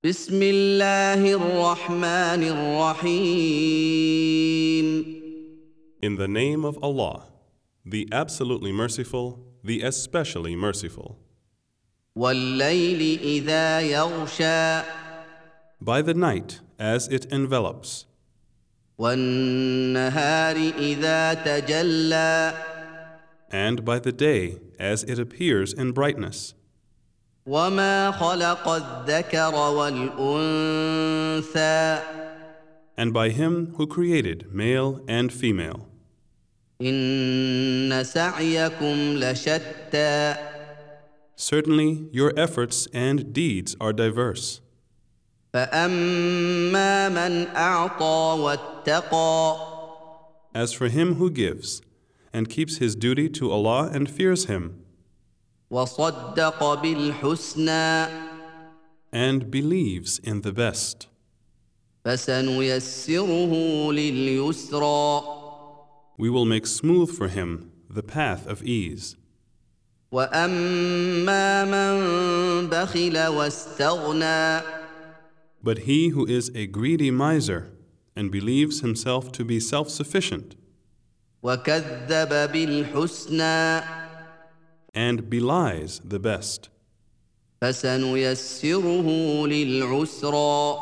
بسم الله الرحمن الرحيم In the name of Allah, the absolutely merciful, the especially merciful. والليل إذا يغشى By the night, as it envelops, والنهار إذا تجلى and by the day, as it appears in brightness. وما خلق الذكر والأنثى And by Him who created male and female. إن سعيكم لشتى Certainly, your efforts and deeds are diverse. فأما من أعطى واتقى As for him who gives, and keeps his duty to Allah and fears Him, وصدق بالحسنى and believes in the best, فسنيسره لليسرى we will make smooth for him the path of ease. وأما من بخل واستغنى But he who is a greedy miser and believes himself to be self sufficient وكذب بالحسنى and belies the best, فسنيسره للعسرى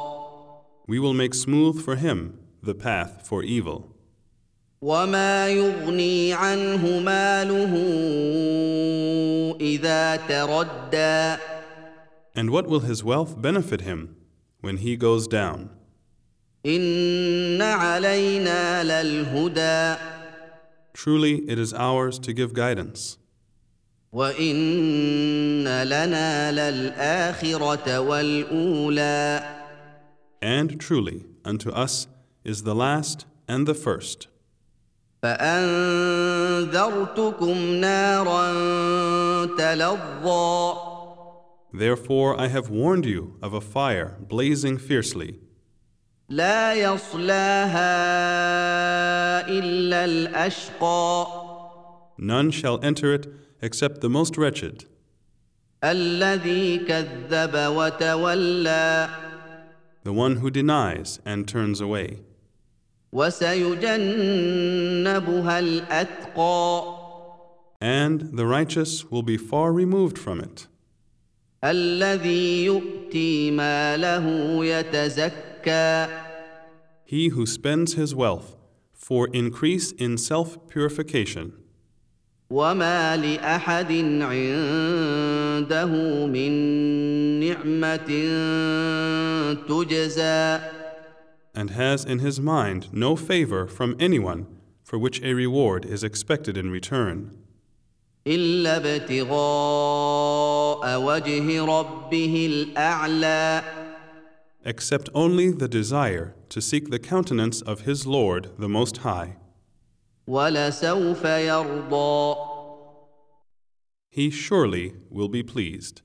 we will make smooth for him the path for evil. وما يغني عنه ماله إذا تردى And what will his wealth benefit him when he goes down? إن علينا للهدى Truly, it is ours to give guidance, وإن لنا للآخرة والأولى and truly, unto us is the last and the first. فأنذرتكم نارا تلظى Therefore, I have warned you of a fire blazing fiercely, لا يصلاها إلا الأشقى none shall enter it except the most wretched. الذي كذب وتولى the one who denies and turns away, وسيجنبها الأتقى and the righteous will be far removed from it, الذي يؤتي ماله يتزكى he who spends his wealth for increase in self purification, وما لاحد عنده من نعمه تجزى and has in his mind no favor from anyone for which a reward is expected in return, الا ابتغاء وجه ربه الاعلى except only the desire to seek the countenance of his Lord the Most High. ولسوف يرضى He surely will be pleased.